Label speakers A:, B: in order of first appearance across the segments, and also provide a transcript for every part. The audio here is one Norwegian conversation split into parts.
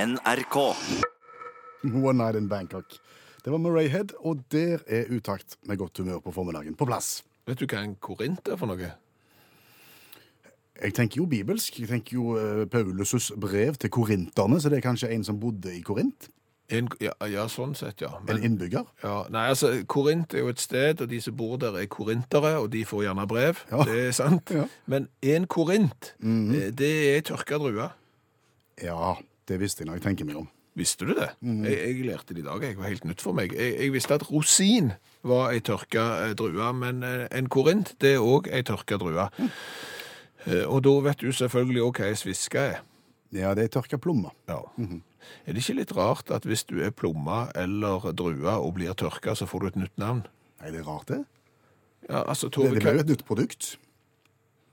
A: NRK.
B: One Night in Bangkok. Det var Murray Head, og der er utakt med godt humør på formiddagen på plass.
C: Vet du hva en korint er for noe?
B: Jeg tenker jo bibelsk. Jeg tenker jo eh, Paulus' brev til korinterne, så det er kanskje en som bodde i Korint?
C: En, ja, ja, sånn sett, ja. Men-
B: En innbygger?
C: ja. Nei, altså, Korint er jo et sted, og de som bor der er korintere, og de får gjerne brev.
B: Ja.
C: Det er sant.
B: Ja. Mhm.
C: Men en korint, eh, det er tørka druer.
B: Ja, det visste jeg når jeg tenker meg om.
C: Visste du det?
B: Mhm.
C: Jeg, jeg lærte det i dag. Jeg var helt nytt for meg. Jeg, jeg visste at rosin var ei tørka eh, drue, men eh, en korint det er òg ei tørka drue.
B: Mm.
C: Eh, Og da vet du selvfølgelig òg hva ei sviske er.
B: Ja, det er tørka plommer.
C: Ja.
B: Mhm.
C: Er det ikke litt rart at hvis du er plomme eller drue og blir tørka, så får du et nytt navn?
B: Nei, det er rart, det.
C: Ja, altså,
B: Det,
C: Tove,
B: det
C: Ka-
B: ble jo et nytt produkt.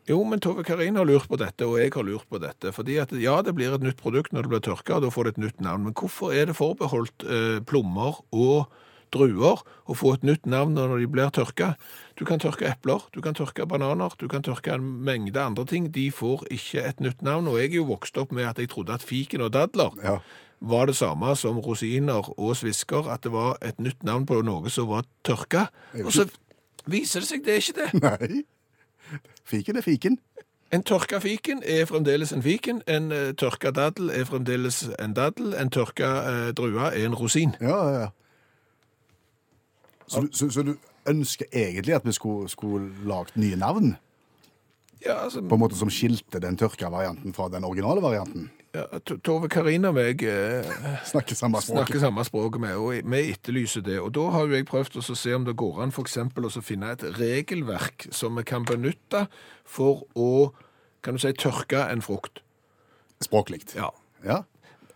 C: Jo, men Tove Karin har lurt på dette, og jeg har lurt på dette. fordi at ja, det blir et nytt produkt når det blir tørka, og da får det et nytt navn. Men hvorfor er det forbeholdt eh, plommer og druer å få et nytt navn når de blir tørka? Du kan tørke epler, du kan tørke bananer, du kan tørke en mengde andre ting. De får ikke et nytt navn. Og jeg er jo vokst opp med at jeg trodde at fiken og dadler
B: Ja.
C: var det samme som rosiner og svisker, at det var et nytt navn på noe som var tørka. Og så viser det seg det er ikke det.
B: Nei. Fiken er fiken.
C: En tørka fiken er fremdeles en fiken, en eh, tørka daddel er fremdeles en daddel, en tørka eh, drue er en rosin.
B: Ja, ja, ja. Så, du- så, så du ønsker egentlig at vi skulle, skulle lagt nye navn?
C: Ja, altså,
B: På en måte som skilte den tørka varianten fra den originale varianten?
C: ja, To- Tove Karin og meg eh,
B: Snakker samme språk.
C: snakker samme språket med, og vi etterlyser det. Og da har jo jeg prøvd å så se om det går an for eksempel å så finne et regelverk som vi kan benytte for å, kan du si, tørke en frukt.
B: Språklikt.
C: Ja.
B: Ja.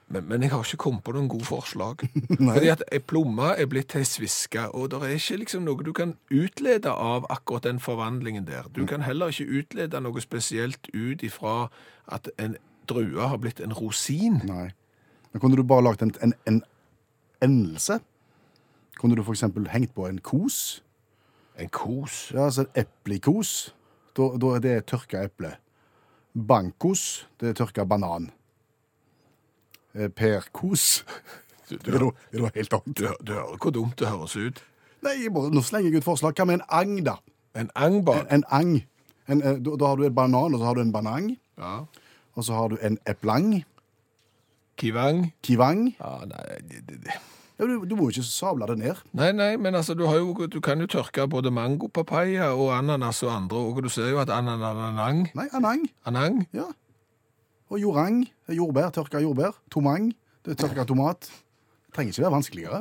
C: Men, men jeg har ikke kommet på noen gode forslag. Fordi at ei plomme er blitt til ei sviske, og det er ikke liksom noe du kan utlede av akkurat den forvandlingen der. Du kan heller ikke utlede noe spesielt ut ifra at en drue har blitt en rosin.
B: Nei. Men kunne du bare lagt en, en, en endelse? Kunne du for eksempel hengt på en kos?
C: En kos.
B: Ja, altså en eplikos. Da, da er det tørka eple. Bankos, det er tørka banan. Eh, Perkos,
C: Du,
B: det er
C: du,
B: noe, det er noe helt annet.
C: du, du hører hvor dumt det høres ut.
B: Nei, jeg bare, nå slenger jeg ut forslag. Hva med en ang, da?
C: En angbad.
B: En ang. En, eh, da, da har du en banan, og så har du en banang.
C: Ja.
B: Og så har du en eplang.
C: Kivang.
B: Kivang.
C: Ja, nei, det, det, det.
B: Ja, du, du må jo ikke sable det ned.
C: Nei, nei, men altså, du, har jo, du kan jo tørke både mango, papaya og ananas og andre, og du ser jo at anananang,
B: Nei, anang.
C: anang,
B: Ja. Og jorang, det er jordbær, tørka jordbær. Tomang, det er tørka tomat. Det trenger ikke være vanskeligere.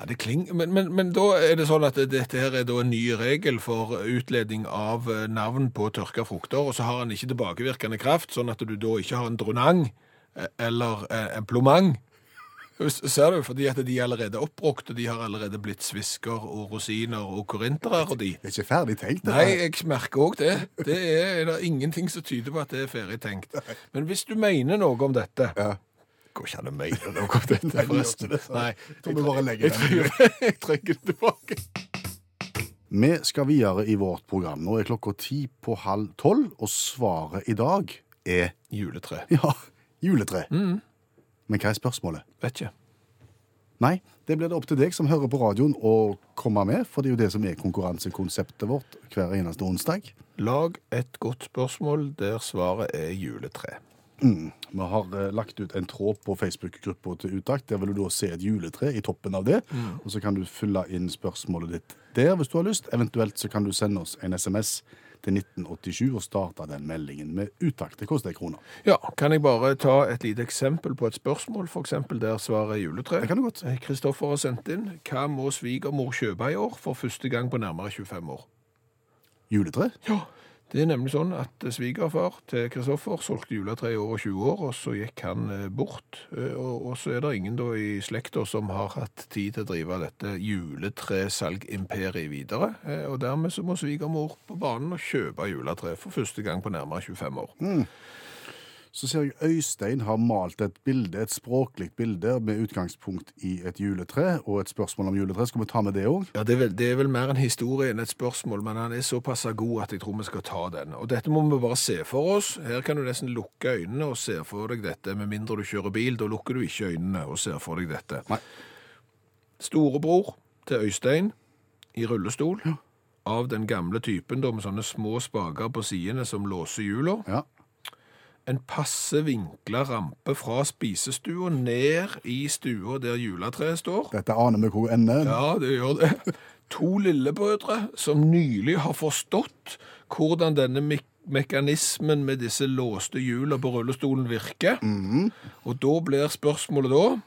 C: Ja, det kling... men, men, men da er det sånn at dette her er da en ny regel for utledning av eh, navn på tørka frukter, og så har han ikke tilbakevirkende kraft, sånn at du da ikke har en drunang eh, eller eh, en plomang. S- Ser du, fordi at de er allerede oppbrukt, og de har allerede blitt svisker og rosiner og korintere og de.
B: Det er ikke ferdig tenkt. det
C: Nei,
B: her.
C: jeg merker òg det. Det er, er det ingenting som tyder på at det er ferdig tenkt. Men hvis du mener noe om dette
B: Ja.
C: Går ikke an å mene noe om
B: Nei, det gjør
C: dette,
B: ikke
C: forresten.
B: det, sant.
C: Nei,
B: Jeg tror vi bare legger
C: jeg,
B: den.
C: tror- jeg trekker den tilbake.
B: Vi skal videre i vårt program. Nå er klokka ti på halv tolv, og svaret i dag er
C: Juletre.
B: ja, juletre. Men hva er spørsmålet?
C: Vet ikke.
B: Nei, det blir det opp til deg som hører på radioen å komme med, for det er jo det som er konkurransekonseptet vårt hver eneste onsdag.
C: Lag et godt spørsmål der svaret er juletre.
B: Vi har eh, lagt ut en tråd på Facebook-gruppa til Utakt. Der vil du da se et juletre i toppen av det. Og så kan du fylle inn spørsmålet ditt der hvis du har lyst. Eventuelt så kan du sende oss en SMS til 1987 og starte den meldingen med Utakt. Det koster en krone.
C: Ja, kan jeg bare ta et lite eksempel på et spørsmål, for eksempel der svaret er juletre?
B: Det kan du godt.
C: Eh, Kristoffer har sendt inn, hva må svigermor kjøpe i år for første gang på nærmere 25 år?
B: Juletre?
C: Ja. Det er nemlig sånn at svigerfar til Kristoffer solgte juletre i over 20 år, og så gikk han eh, bort. Eh, Og, og så er det ingen da i slekta som har hatt tid til å drive dette juletresalgimperiet videre. Eh, Og dermed så må svigermor på banen og kjøpe juletre for første gang på nærmere 25 år.
B: så ser jeg Øystein har malt et bilde, et språklig bilde med utgangspunkt i et juletre og et spørsmål om juletre. Skal vi ta med det òg?
C: Ja, det er, vel, det er vel mer en historie enn et spørsmål, men han er såpass god at jeg tror vi skal ta den. Og dette må vi bare se for oss. Her kan du nesten lukke øynene og se for deg dette, med mindre du kjører bil. Da lukker du ikke øynene og ser for deg dette.
B: Nei.
C: Storebror til Øystein i rullestol, av den gamle typen da, med sånne små spaker på sidene som låser hjula.
B: Ja.
C: En passe vinkla rampe fra spisestua ned i stua der juletreet står.
B: Dette aner vi hvor ender.
C: Ja, det gjør det. To lillebrødre som nylig har forstått hvordan denne mek mekanismen med disse låste hjula på rullestolen virker. Og da blir spørsmålet da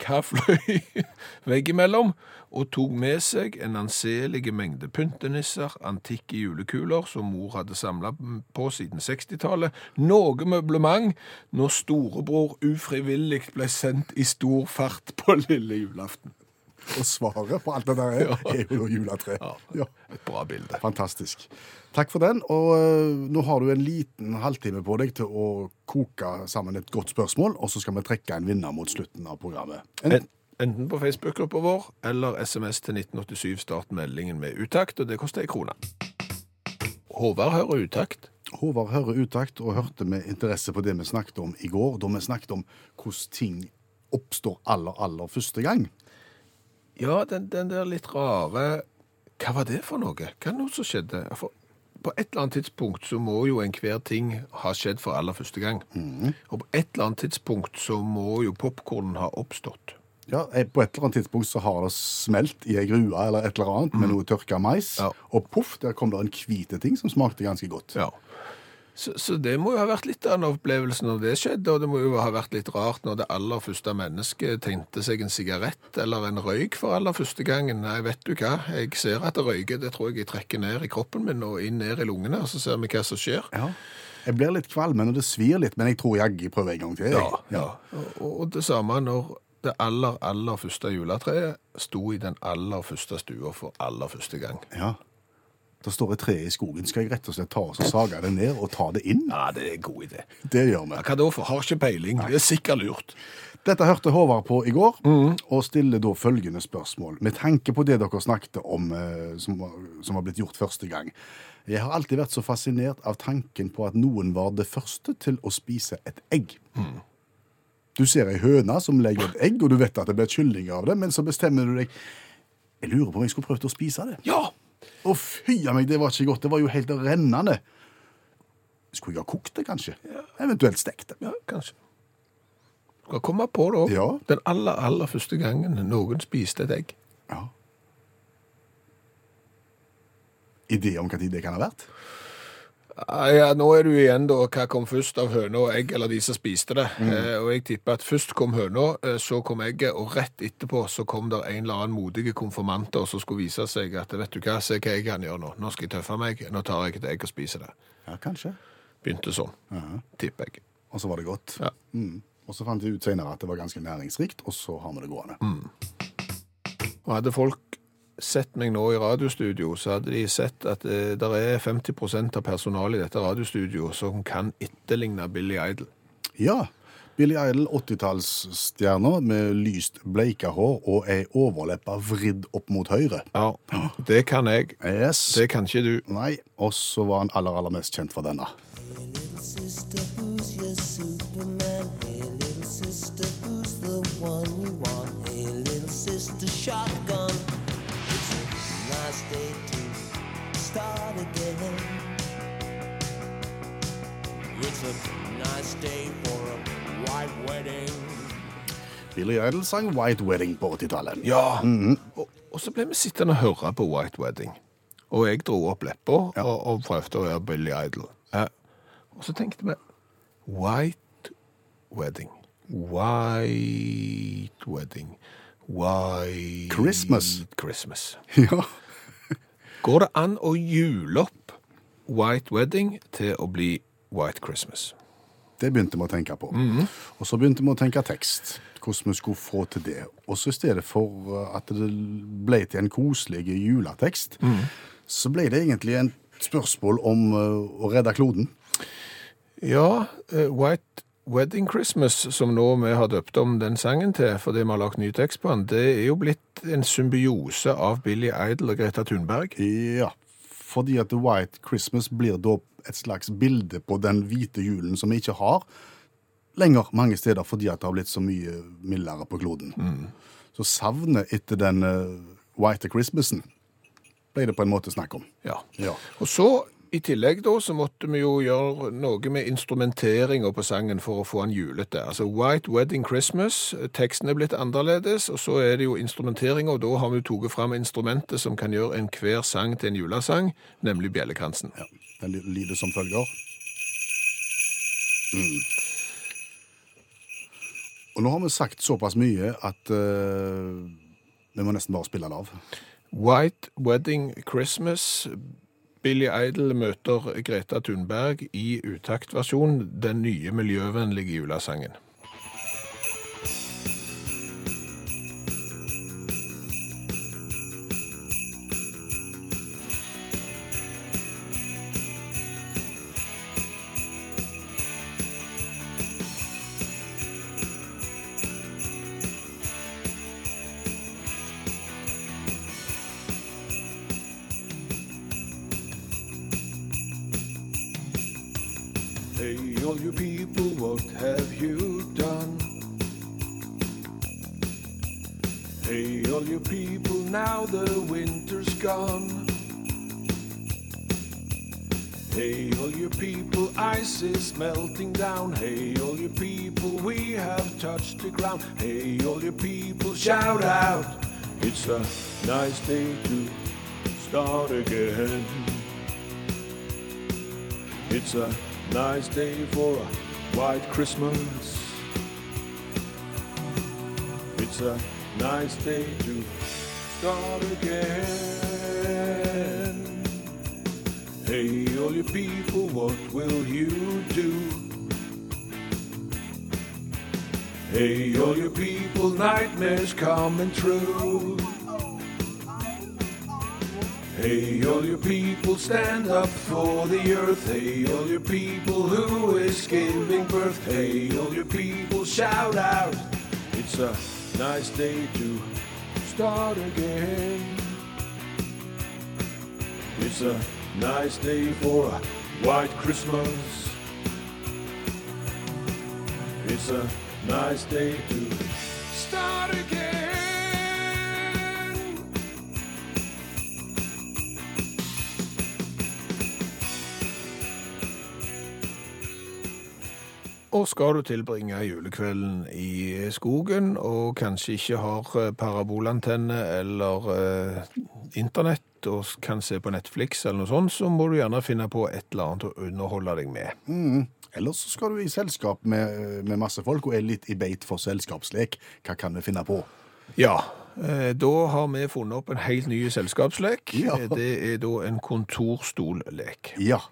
C: hva fløy veggimellom og tok med seg en anselig mengde pyntenisser, antikke julekuler som mor hadde samla på siden 60-tallet, noe møblement når storebror ufrivillig ble sendt i stor fart på lille julaften.
B: Og svaret på alt det der er, er jo da juletre.
C: Ja.
B: Ja.
C: Et bra bilde.
B: Fantastisk. Takk for den. Og eh, nå har du en liten halvtime på deg til å koke sammen et godt spørsmål, og så skal vi trekke en vinner mot slutten av programmet. En,
C: En- Enten på Facebook-gruppa vår eller SMS til 1987. Start meldingen med utakt, og det koster ei krone. Håvard hører utakt.
B: Håvard hører utakt og hørte med interesse på det vi snakket om i går, da vi snakket om hvordan ting oppstår aller, aller første gang.
C: Ja, den, den der litt rare Hva var det for noe? Hva er det som skjedde? For på et eller annet tidspunkt så må jo enhver ting ha skjedd for aller første gang. Og på et eller annet tidspunkt så må jo popkornen ha oppstått.
B: Ja, eh, På et eller annet tidspunkt så har det smelt i ei grue eller et eller annet med noe tørka mais,
C: Mm. Ja.
B: og poff, der kom det en hvite ting som smakte ganske godt.
C: Ja. Så, så det må jo ha vært litt av en opplevelse når det skjedde, og det må jo ha vært litt rart når det aller første mennesket tente seg en sigarett eller en røyk for aller første gangen. Nei, vet du hva, jeg ser at det røyker, det tror jeg jeg trekker ned i kroppen min og inn ned i lungene, og så ser vi hva som skjer.
B: Ja. Jeg blir litt kvalm, og det svir litt, men jeg tror jaggu jeg prøver en gang til. jeg.
C: Ja, ja. Og, og det samme når det aller, aller første juletreet sto i den aller første stua for aller første gang.
B: Ja. Da står et tre i skogen. Skal jeg rett og slett ta og så sage det ned og ta det inn?
C: Ja, det er en god idé.
B: Det gjør vi.
C: Hva da for? Har ikke peiling. Det er sikkert lurt.
B: Dette hørte Håvard på i går, og stiller da følgende spørsmål. Med tanke på det dere snakket om eh, som, var- som har blitt gjort første gang. Jeg har alltid vært så fascinert av tanken på at noen var det første til å spise et egg. Du ser ei høne som legger et egg, og du vet at det blir kylling av det, men så bestemmer du deg Jeg lurer på om jeg skulle prøvd å spise det.
C: Ja!
B: Å, fy a meg, det var ikke godt. Det var jo helt rennende. Skulle jeg ha kokt det, kanskje? Eventuelt stekt det.
C: Ja, kanskje. Skal komme på det òg.
B: Ja.
C: Den aller, aller første gangen noen spiste et egg.
B: Ja. Idé om hva tid det kan ha vært?
C: Ah, Ja, nå er du igjen da, hva kom først av høna og egg, eller de som spiste det. Eh, og jeg tipper at først kom høna, eh, så kom egget, og rett etterpå så kom der en eller annen modige konfirmanter som skulle vise seg at, vet du hva, se hva jeg kan gjøre nå. Nå skal jeg tøffe meg, nå tar jeg et egg og spiser det.
B: Ja, kanskje.
C: Begynte sånn,
B: Ja.
C: tipper jeg.
B: Og så var det godt.
C: Ja.
B: Mm. Og så fant vi ut senere at det var ganske næringsrikt, og så har vi det gående.
C: Mm. Og hadde folk sett meg nå i radiostudio, så hadde de sett at eh, det er 50 av personalet i dette radiostudioet som kan etterligne Billy Idol.
B: Ja. Billy Idol, 80-tallsstjerna med lyst bleika hår og ei overleppe vridd opp mot høyre.
C: Ja, det kan jeg.
B: Yes.
C: Det kan ikke du.
B: Nei, og så var han aller, aller mest kjent for denne.
A: Sister, who's your Superman? Hey, little sister, who's the one you want? Hey, little sister, shotgun. It's a nice day to start again. It's a nice day for a white wedding.
B: Billy Idol sang White Wedding på 80-tallet.
C: Ja! og, og så ble vi sittende og høre på White Wedding. Og jeg dro opp leppa og, og prøvde å være Billy Idol. Ja. Og så tenkte vi White Wedding. White Wedding. White
B: Christmas.
C: Christmas.
B: Ja.
C: Går det an å jule opp White Wedding til å bli White Christmas?
B: Det begynte vi å tenke på. Og så begynte vi å tenke tekst. Hvordan vi skulle få til det. Og så i stedet for eh, at det ble til en koselig juletekst, så ble det egentlig en spørsmål om eh, å redde kloden.
C: Ja, eh, White Wedding Christmas, som nå vi har døpt om den sangen til fordi vi har lagt ny tekst på den, det er jo blitt en symbiose av Billy Idol og Greta Thunberg.
B: Ja, fordi at The White Christmas blir da et slags bilde på den hvite julen som vi ikke har lenger mange steder, fordi at det har blitt så mye mildere på kloden. Så savnet etter den eh, White Christmasen ble det på en måte snakk om.
C: Ja.
B: Ja.
C: Og så, i tillegg da, så måtte vi jo gjøre noe med instrumenteringa på sangen for å få den julete. Altså White Wedding Christmas, teksten er blitt annerledes, og så er det jo instrumenteringa, og da har vi jo tatt fram instrumentet som kan gjøre enhver sang til en julesang, nemlig bjellekransen.
B: Ja. Den ly- lyder som følger. Mm. Og nå har vi sagt såpass mye at eh, vi må nesten bare spille det av.
C: White Wedding Christmas. Billy Idol møter Greta Thunberg i utaktversjon, den nye miljøvennlige julesangen. Hey, all you people, what have you done? Hey, all you people, now the winter's gone. Hey, all you people, ice is melting down. Hey, all you people, we have touched the ground. Hey, all you people, shout out. It's a nice day to start again. It's a nice day for a white Christmas. It's a nice day to start again. Hey, all you people, what will you do? Hey, all you people, nightmares coming true. Hey, all you people, stand up for the earth. Hey, all you people, who is giving birth? Hey, all you people, shout out. It's a nice day to start again. It's a nice day for a white Christmas. It's a nice day to start again. Og skal du tilbringe julekvelden i skogen, og kanskje ikke har eh, parabolantenne eller eh, internett, og s- kan se på Netflix eller noe sånt, så må du gjerne finne på et eller annet å underholde deg med.
B: Eller så skal du i selskap med, med masse folk og er litt i beit for selskapslek. Hva kan vi finne på?
C: Ja, eh, da har vi funnet opp en helt ny selskapslek.
B: Ja.
C: Eh, Det er da en kontorstollek.
B: Ja.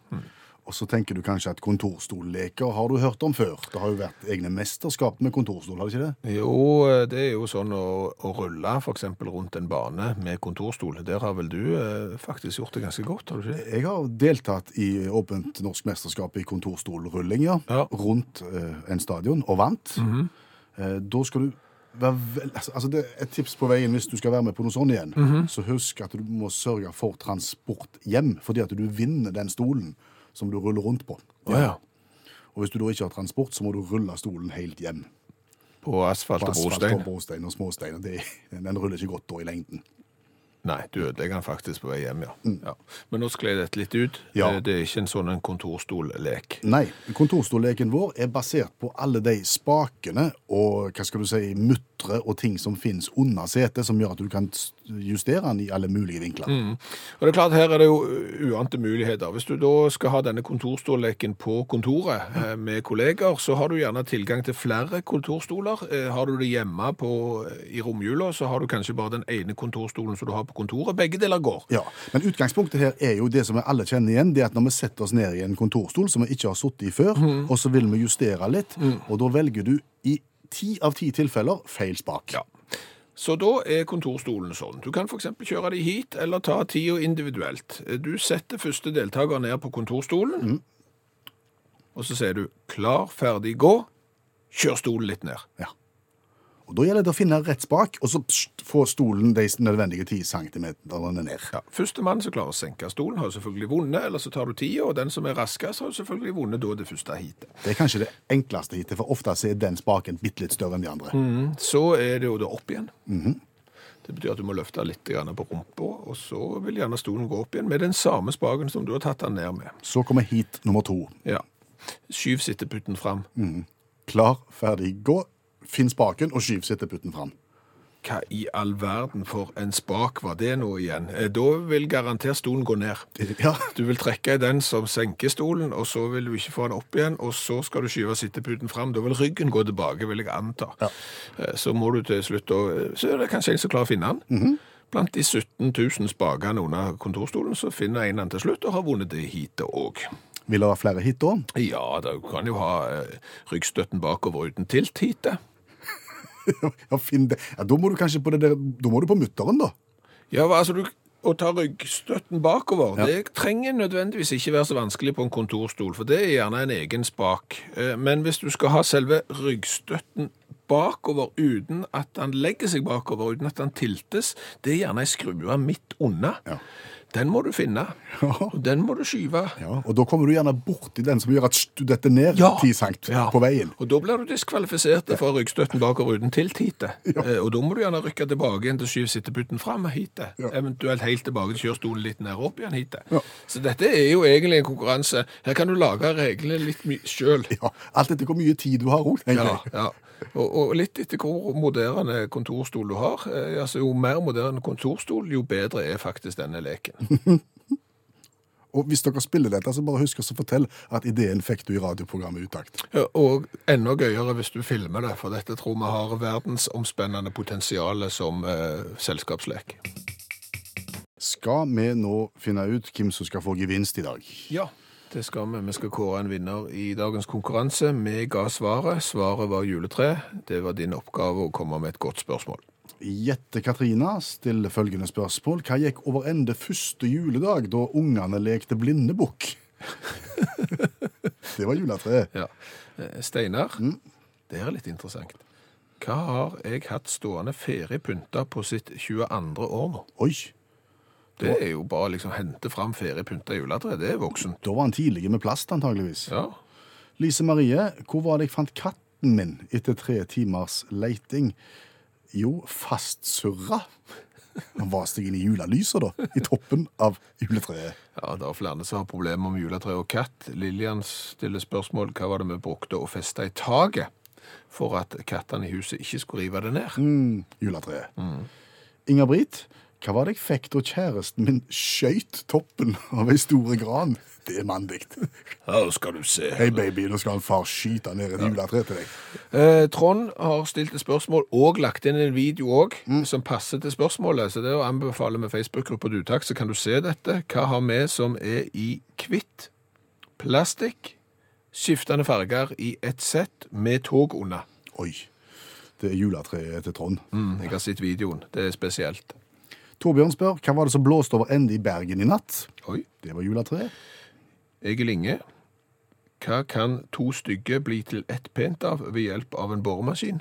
B: Og så tenker du kanskje at kontorstolleker har du hørt om før. Det har jo vært egne mesterskap med kontorstol, har det ikke det?
C: Jo, eh, det er jo sånn å, å rulle f.eks. rundt en bane med kontorstol. Der har vel du eh, faktisk gjort det ganske godt, har du ikke det?
B: Jeg har deltatt i åpent norsk mesterskap i kontorstolrulling, ja.
C: Ja. Mhm.
B: Rundt eh, en stadion, og vant. eh, da skal du være vel, altså, altså det er Et tips på veien hvis du skal være med på noe sånt igjen,
C: Mhm.
B: så husk at du må sørge for transport hjem, fordi at du vinner den stolen som du ruller rundt på.
C: Å ja.
B: Og hvis du da ikke har transport, så må du rulle stolen helt hjem.
C: På asfalt
B: På
C: og
B: asfalt
C: brostein.
B: og brostein og småstein. og det- Den ruller ikke godt da i lengden.
C: Nei, du ødelegger den faktisk på vei hjem, ja. ja. Men nå skled dette litt ut.
B: Mm. Ja.
C: Det, det er ikke en sånn en kontorstollek.
B: Nei, kontorstolleken vår er basert på alle de spakene og hva skal du si, muttre og ting som finnes under setet, som gjør at du kan s- justere den i alle mulige vinkler.
C: Mm. Og det er klart, her er det jo u- uante muligheter. Hvis du da skal ha denne kontorstolleken på kontoret eh, med kolleger, så har du gjerne tilgang til flere kontorstoler. Eh, Har du det hjemme på, eh, i romjula, så har du kanskje bare den ene kontorstolen som du har på kontoret. Begge deler går.
B: Ja, Men utgangspunktet her er jo det som vi alle kjenner igjen. det er at Når vi setter oss ned i en kontorstol som vi ikke har sittet i før,
C: Mm.
B: og så vil vi justere litt, og da velger du i ti av ti tilfeller feil spak.
C: Ja. Så da er kontorstolen sånn. Du kan f.eks. kjøre de hit, eller ta Eh, tida individuelt. Du setter første deltaker ned på kontorstolen. og så sier du 'klar, ferdig, gå'. Kjør stolen litt ned.
B: Ja. Og Da gjelder det å finne rett spak, og så pst, få stolen de nødvendige 10 centimeterne ned.
C: Ja, Førstemann som klarer å senke stolen, har jo selvfølgelig vunnet, eller så tar du tida, og den som er raskest, har jo selvfølgelig vunnet da det første heatet.
B: Det er kanskje det enkleste hittil, for ofte så er den spaken bitte litt større enn de andre.
C: Så er det jo da opp igjen. Det betyr at du må løfte litt grann på rumpa, og så vil gjerne stolen gå opp igjen med den samme spaken som du har tatt den ned med.
B: Så kommer hit nummer to.
C: Ja. Skyv sitteputten fram.
B: Klar, ferdig, gå. Finn spaken og skyv sitteputten fram.
C: Hva i all verden for en spak var det nå igjen? Eh, Da vil garantert stolen gå ned.
B: Ja,
C: Du vil trekke i den som senker stolen, og så vil du ikke få den opp igjen, og så skal du skyve sitteputen fram. Da vil ryggen gå tilbake, vil jeg anta. Eh, Så må du til slutt da Så er det kanskje en som klarer å finne den. Blant de 17 000 spakene under kontorstolen, så finner en den til slutt, og har vunnet det heatet òg.
B: Vil det ha flere hit da?
C: Ja, da kan jo ha eh, ryggstøtten bakover uten tilt-heatet.
B: Ja, finn det. Ja, da må du kanskje på det der, da må du på mutteren, da.
C: Ja, hva, altså du, å ta ryggstøtten bakover, det trenger nødvendigvis ikke være så vanskelig på en kontorstol, for det er gjerne en egen spak. Eh, Men hvis du skal ha selve ryggstøtten bakover uten at den legger seg bakover, uten at den tiltes, det er gjerne en skrue midt unna.
B: Ja.
C: Den må du finne, og den må du skyve.
B: Ja, og da kommer du gjerne borti den som gjør at st- du detter ned
C: Ja.
B: 10 cent
C: Ja.
B: på veien.
C: Og da blir du diskvalifisert fra ryggstøtten bakover uten tiltite. Eh, Og da må du gjerne rykke tilbake igjen til skyv sitteputten fram hitet.
B: Ja.
C: Eventuelt helt tilbake til kjør stolen litt ned opp igjen hitet.
B: Ja.
C: Så dette er jo egentlig en konkurranse. Her kan du lage reglene litt my- sjøl.
B: Ja, alt etter hvor mye tid du har òg, tenker
C: Ja,
B: jeg.
C: ja. Og, og litt etter hvor moderne kontorstol du har. Eh, altså Jo mer moderne kontorstol, jo bedre er faktisk denne leken.
B: Og hvis dere spiller dette, så bare husk å fortelle at ideen fikk du i radioprogrammet Utakt.
C: Ja, Og enda gøyere hvis du filmer det, for dette tror vi har verdensomspennende potensial som eh, selskapslek.
B: Skal vi nå finne ut hvem som skal få gevinst i dag?
C: Ja, det skal vi. Vi skal kåre en vinner i dagens konkurranse. Vi ga svaret. Svaret var juletre. Det var din oppgave å komme med et godt spørsmål.
B: Jette Katrina stiller følgende spørsmål. Hva gikk over ende første juledag da ungene lekte blindebukk? det var juletreet.
C: Ja. Eh, Steinar, det er litt interessant. Hva har jeg hatt stående feriepynta på sitt 22. år nå?
B: Oi,
C: Det er jo bare liksom hente fram feriepynta i juletreet. Det er voksent.
B: da var han tidlig med plast, antageligvis.
C: Ja.
B: Lise Marie, hvor var det jeg fant katten min etter tre timers leiting? Jo, fastsurra. Han var seg inn i julelyset, da. I toppen av juletreet.
C: Ja, Det er flere som har problemer med juletre og katt. Lillian stiller spørsmål hva var det vi brukte å feste i taket for at kattene i huset ikke skulle rive det ned.
B: Mm, juletreet. Inger-Britt, hva var det jeg fikk da kjæresten min skøyt toppen av ei store gran? Det er mandig.
C: Her skal du se.
B: Hei, baby, nå skal en far skyte ned et juletre til deg.
C: Eh, Trond har stilt et spørsmål og lagt inn en video òg, som passer til spørsmålet. Så det å anbefale med Facebook-gruppa Dutak, så kan du se dette. Hva har vi som er i hvitt, plastikk, skiftende farger i ett sett med tog under?
B: Oi. Det er juletreet til Trond.
C: Mm, jeg har sett videoen. Det er spesielt.
B: Torbjørn spør hva var det som blåste over ende i Bergen i natt.
C: Oi.
B: Det var juletreet.
C: Egil Inge. Hva kan to stygge bli til ett pent av ved hjelp av en boremaskin?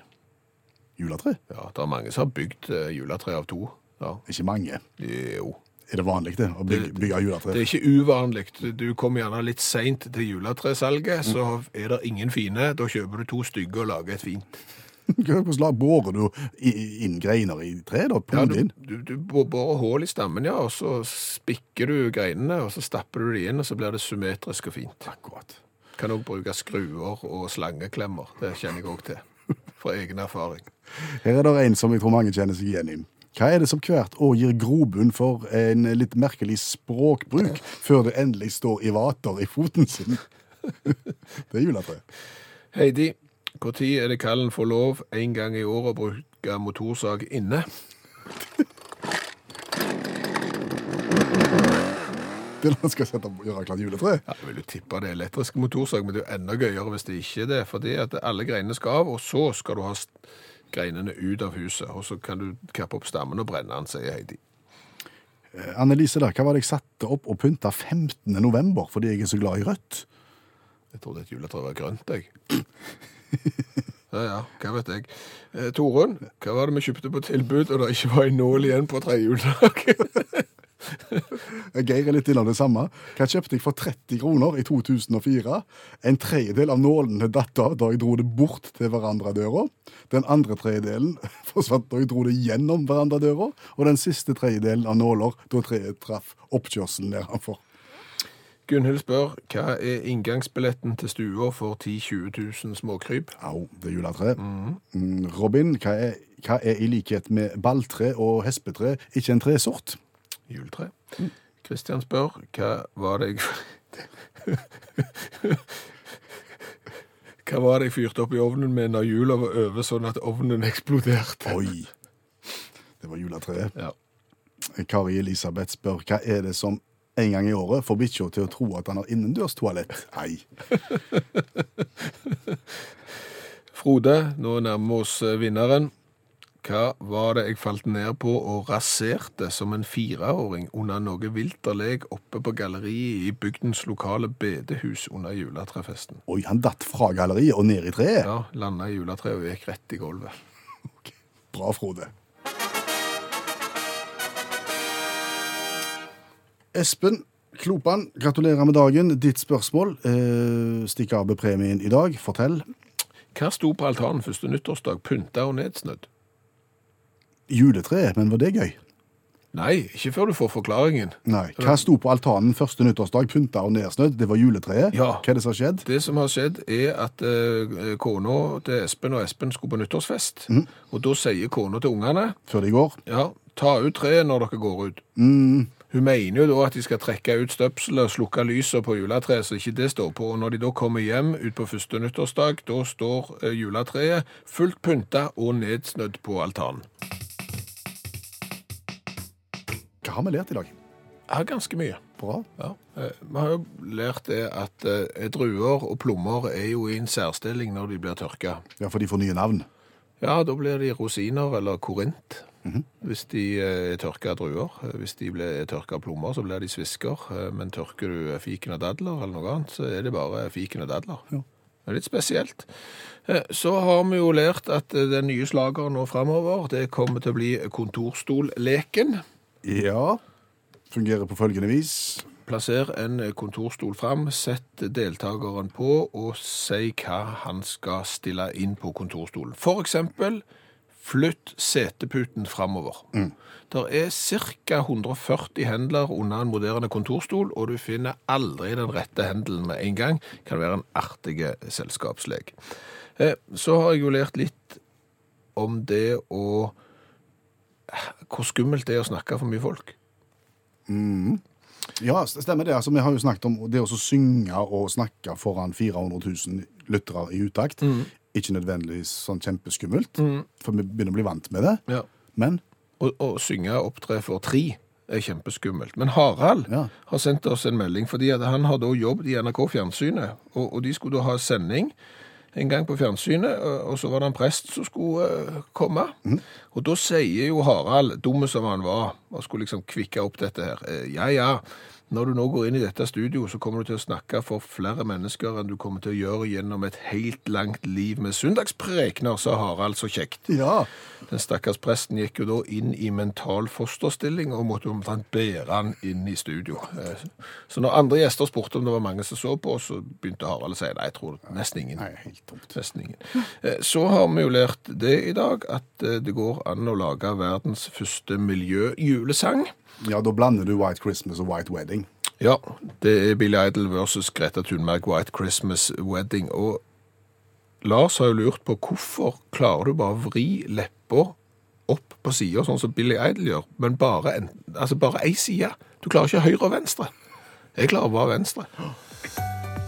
B: Juletre?
C: Ja, det er mange som har bygd eh, juletre av to. Ja,
B: Ikke mange.
C: jo.
B: Er det vanlig det, å bygge, bygge juletre?
C: Det er ikke uvanlig. Du kommer gjerne litt seint til juletresalget, så er det ingen fine. Da kjøper du to stygge og lager et fint.
B: Hvordan la- borer du i- i- inn greiner i treet, da? På
C: Ja,
B: ja,
C: du, du, du borer hull i stammen, ja, og så spikker du greinene, og så stapper du de inn, og så blir det symmetrisk og fint.
B: Akkurat.
C: Kan òg bruke skruer og slangeklemmer. Det kjenner jeg òg til. Fra egen erfaring.
B: Her er det en som jeg tror mange kjenner seg igjen i. Hva er det som hvert år gir grobunn for en litt merkelig språkbruk, før det endelig står i vater i foten sin? Det er juletre.
C: Heidi, når er det Kallen får lov en gang i året å bruke motorsag inne?
B: Det er når man skal sette opp gjøre klart juletre.
C: Ja, jeg vil jo tippe det er elektrisk motorsag, men det er jo enda gøyere hvis det ikke er det. Fordi at alle greinene skal av, og så skal du ha st- greinene ut av huset. Og så kan du kappe opp stammen og brenne den, sier Heidi.
B: Eh, Annelise, da, hva var det jeg satte opp og pynta 15. november fordi jeg er så glad i rødt?
C: Jeg trodde et juletre var grønt, jeg. Ja, ja, hva vet jeg. Eh, Torunn, hva var det vi kjøpte på tilbud, og det ikke var en nål igjen på tredje juledag?
B: Geir er litt innom det samme. Hva kjøpte jeg for 30 kroner i 2004? En tredjedel av nålene datt av da jeg dro det bort til verandadøra. Den andre tredjedelen forsvant da jeg dro det gjennom verandadøra. Og den siste tredjedelen av nåler da treet traff oppkjørselen nedenfor.
C: Gunhild spør, hva er inngangsbilletten til stua for 10-20 000 småkryp?
B: Au, det er juletre. Mm, Robin, hva er, hva er i likhet med balltre og hespetre ikke en tresort?
C: Juletre. Kristian spør, hva var det jeg... Hva var det jeg fyrte opp i ovnen med når jula var over sånn at ovnen eksploderte?
B: Oi! Det var juletreet.
C: Ja.
B: Kari Elisabeth spør hva er det som en gang i året får bikkja til å tro at han har innendørstoalett. Nei.
C: Frode, nå nærmer vi oss eh, vinneren. Hva var det jeg falt ned på og raserte som en fireåring under noe vilterleg oppe på galleriet i bygdens lokale bedehus under juletrefesten?
B: Oi, han datt fra galleriet og ned i treet.
C: Ja, landa i juletreet og gikk rett i gulvet.
B: Bra, Frode. Espen Klopan, gratulerer med dagen. Ditt spørsmål. Eh, Stikk av med premien i dag. Fortell.
C: Hva sto på altanen første nyttårsdag, pynta og nedsnødd?
B: Juletreet, men var det gøy?
C: Nei, ikke før du får forklaringen.
B: Nei. Hva sto på altanen første nyttårsdag? Pynta og nedsnødd? Det var juletreet?
C: Ja.
B: Hva er det som har skjedd?
C: Det som har skjedd er at eh, kona til Espen og Espen skulle på nyttårsfest,
B: Mm.
C: og da sier kona til ungene
B: Før det i går?
C: Ja, ta ut treet når dere går ut.
B: Mm.
C: Hun mener jo da at de skal trekke ut støpselet og slukke lyset på juletreet, så ikke det står på. Og når de da kommer hjem ut på første nyttårsdag, da står eh, juletreet fullt pynta og nedsnødd på altanen.
B: Hva har vi lært i dag?
C: Ja, ganske mye.
B: Bra.
C: Ja. eh, Vi har jo lært det at eh, druer og plommer er jo i en særstilling når de blir tørka.
B: Ja, for de får nye navn.
C: Ja, da blir de rosiner eller korint. Hvis de eh, er tørka druer. Eh, Hvis de blir er tørka plommer, så blir de svisker. Eh, Men tørker du eh, fiken og dadler eller noe annet, så er det bare fiken og dadler.
B: Ja.
C: Det er litt spesielt. Eh, Så har vi jo lært at eh, den nye slageren nå framover, det kommer til å bli kontorstolleken.
B: Ja. Fungerer på følgende vis.
C: Plasser en kontorstol fram, sett deltakeren på og si hva han skal stille inn på kontorstolen. For eksempel, flytt seteputen framover. Der er ca. 140 hendler under en moderne kontorstol, og du finner aldri den rette hendelen med en gang. Kan være en artig selskapslek. Eh, Så har jeg jo lært litt om det å Hvor skummelt det er å snakke for mye folk.
B: Ja, st- stemmer det. Altså, vi har jo snakket om det å så synge og snakke foran 400 000 lyttere i utakt. Ikke nødvendigvis sånn kjempeskummelt, for vi begynner å bli vant med det.
C: Ja.
B: Men
C: Å, å synge og opptre for tre er kjempeskummelt. Men Harald
B: Ja.
C: har sendt oss en melding, fordi at han har da jobbet i NRK Fjernsynet, og, og de skulle da ha sending en gang på fjernsynet, og og så var det en prest som skulle eh, komme. Og da sier jo Harald, dumme som han var, og skulle liksom kvikke opp dette her, eh, ja, ja, når du nå går inn i dette studio, så kommer du til å snakke for flere mennesker enn du kommer til å gjøre gjennom et helt langt liv med søndagsprekner, sa Harald så kjekt.
B: ja,
C: Den stakkars presten gikk jo da inn i mental fosterstilling og måtte omtrent bære han inn i studio. Eh, Så når andre gjester spurte om det var mange som så på, så begynte Harald å si nei, jeg tror nesten ingen.
B: nei, helt tomt.
C: Nesten ingen. Eh, Så har vi jo lært det i dag, at eh, det går an å lage verdens første miljøjulesang.
B: Ja, da blander du White Christmas og White Wedding.
C: Ja, det er Billy Idol versus Greta Thunberg White Christmas Wedding. Og Lars har jo lurt på hvorfor klarer du bare å vri leppa opp på sida, sånn som Billy Idol gjør, men bare en, altså bare ei side. Du klarer ikke høyre og venstre. Jeg klarer bare venstre.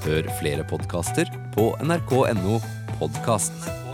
D: Hør flere podkaster på nrk.no podkast.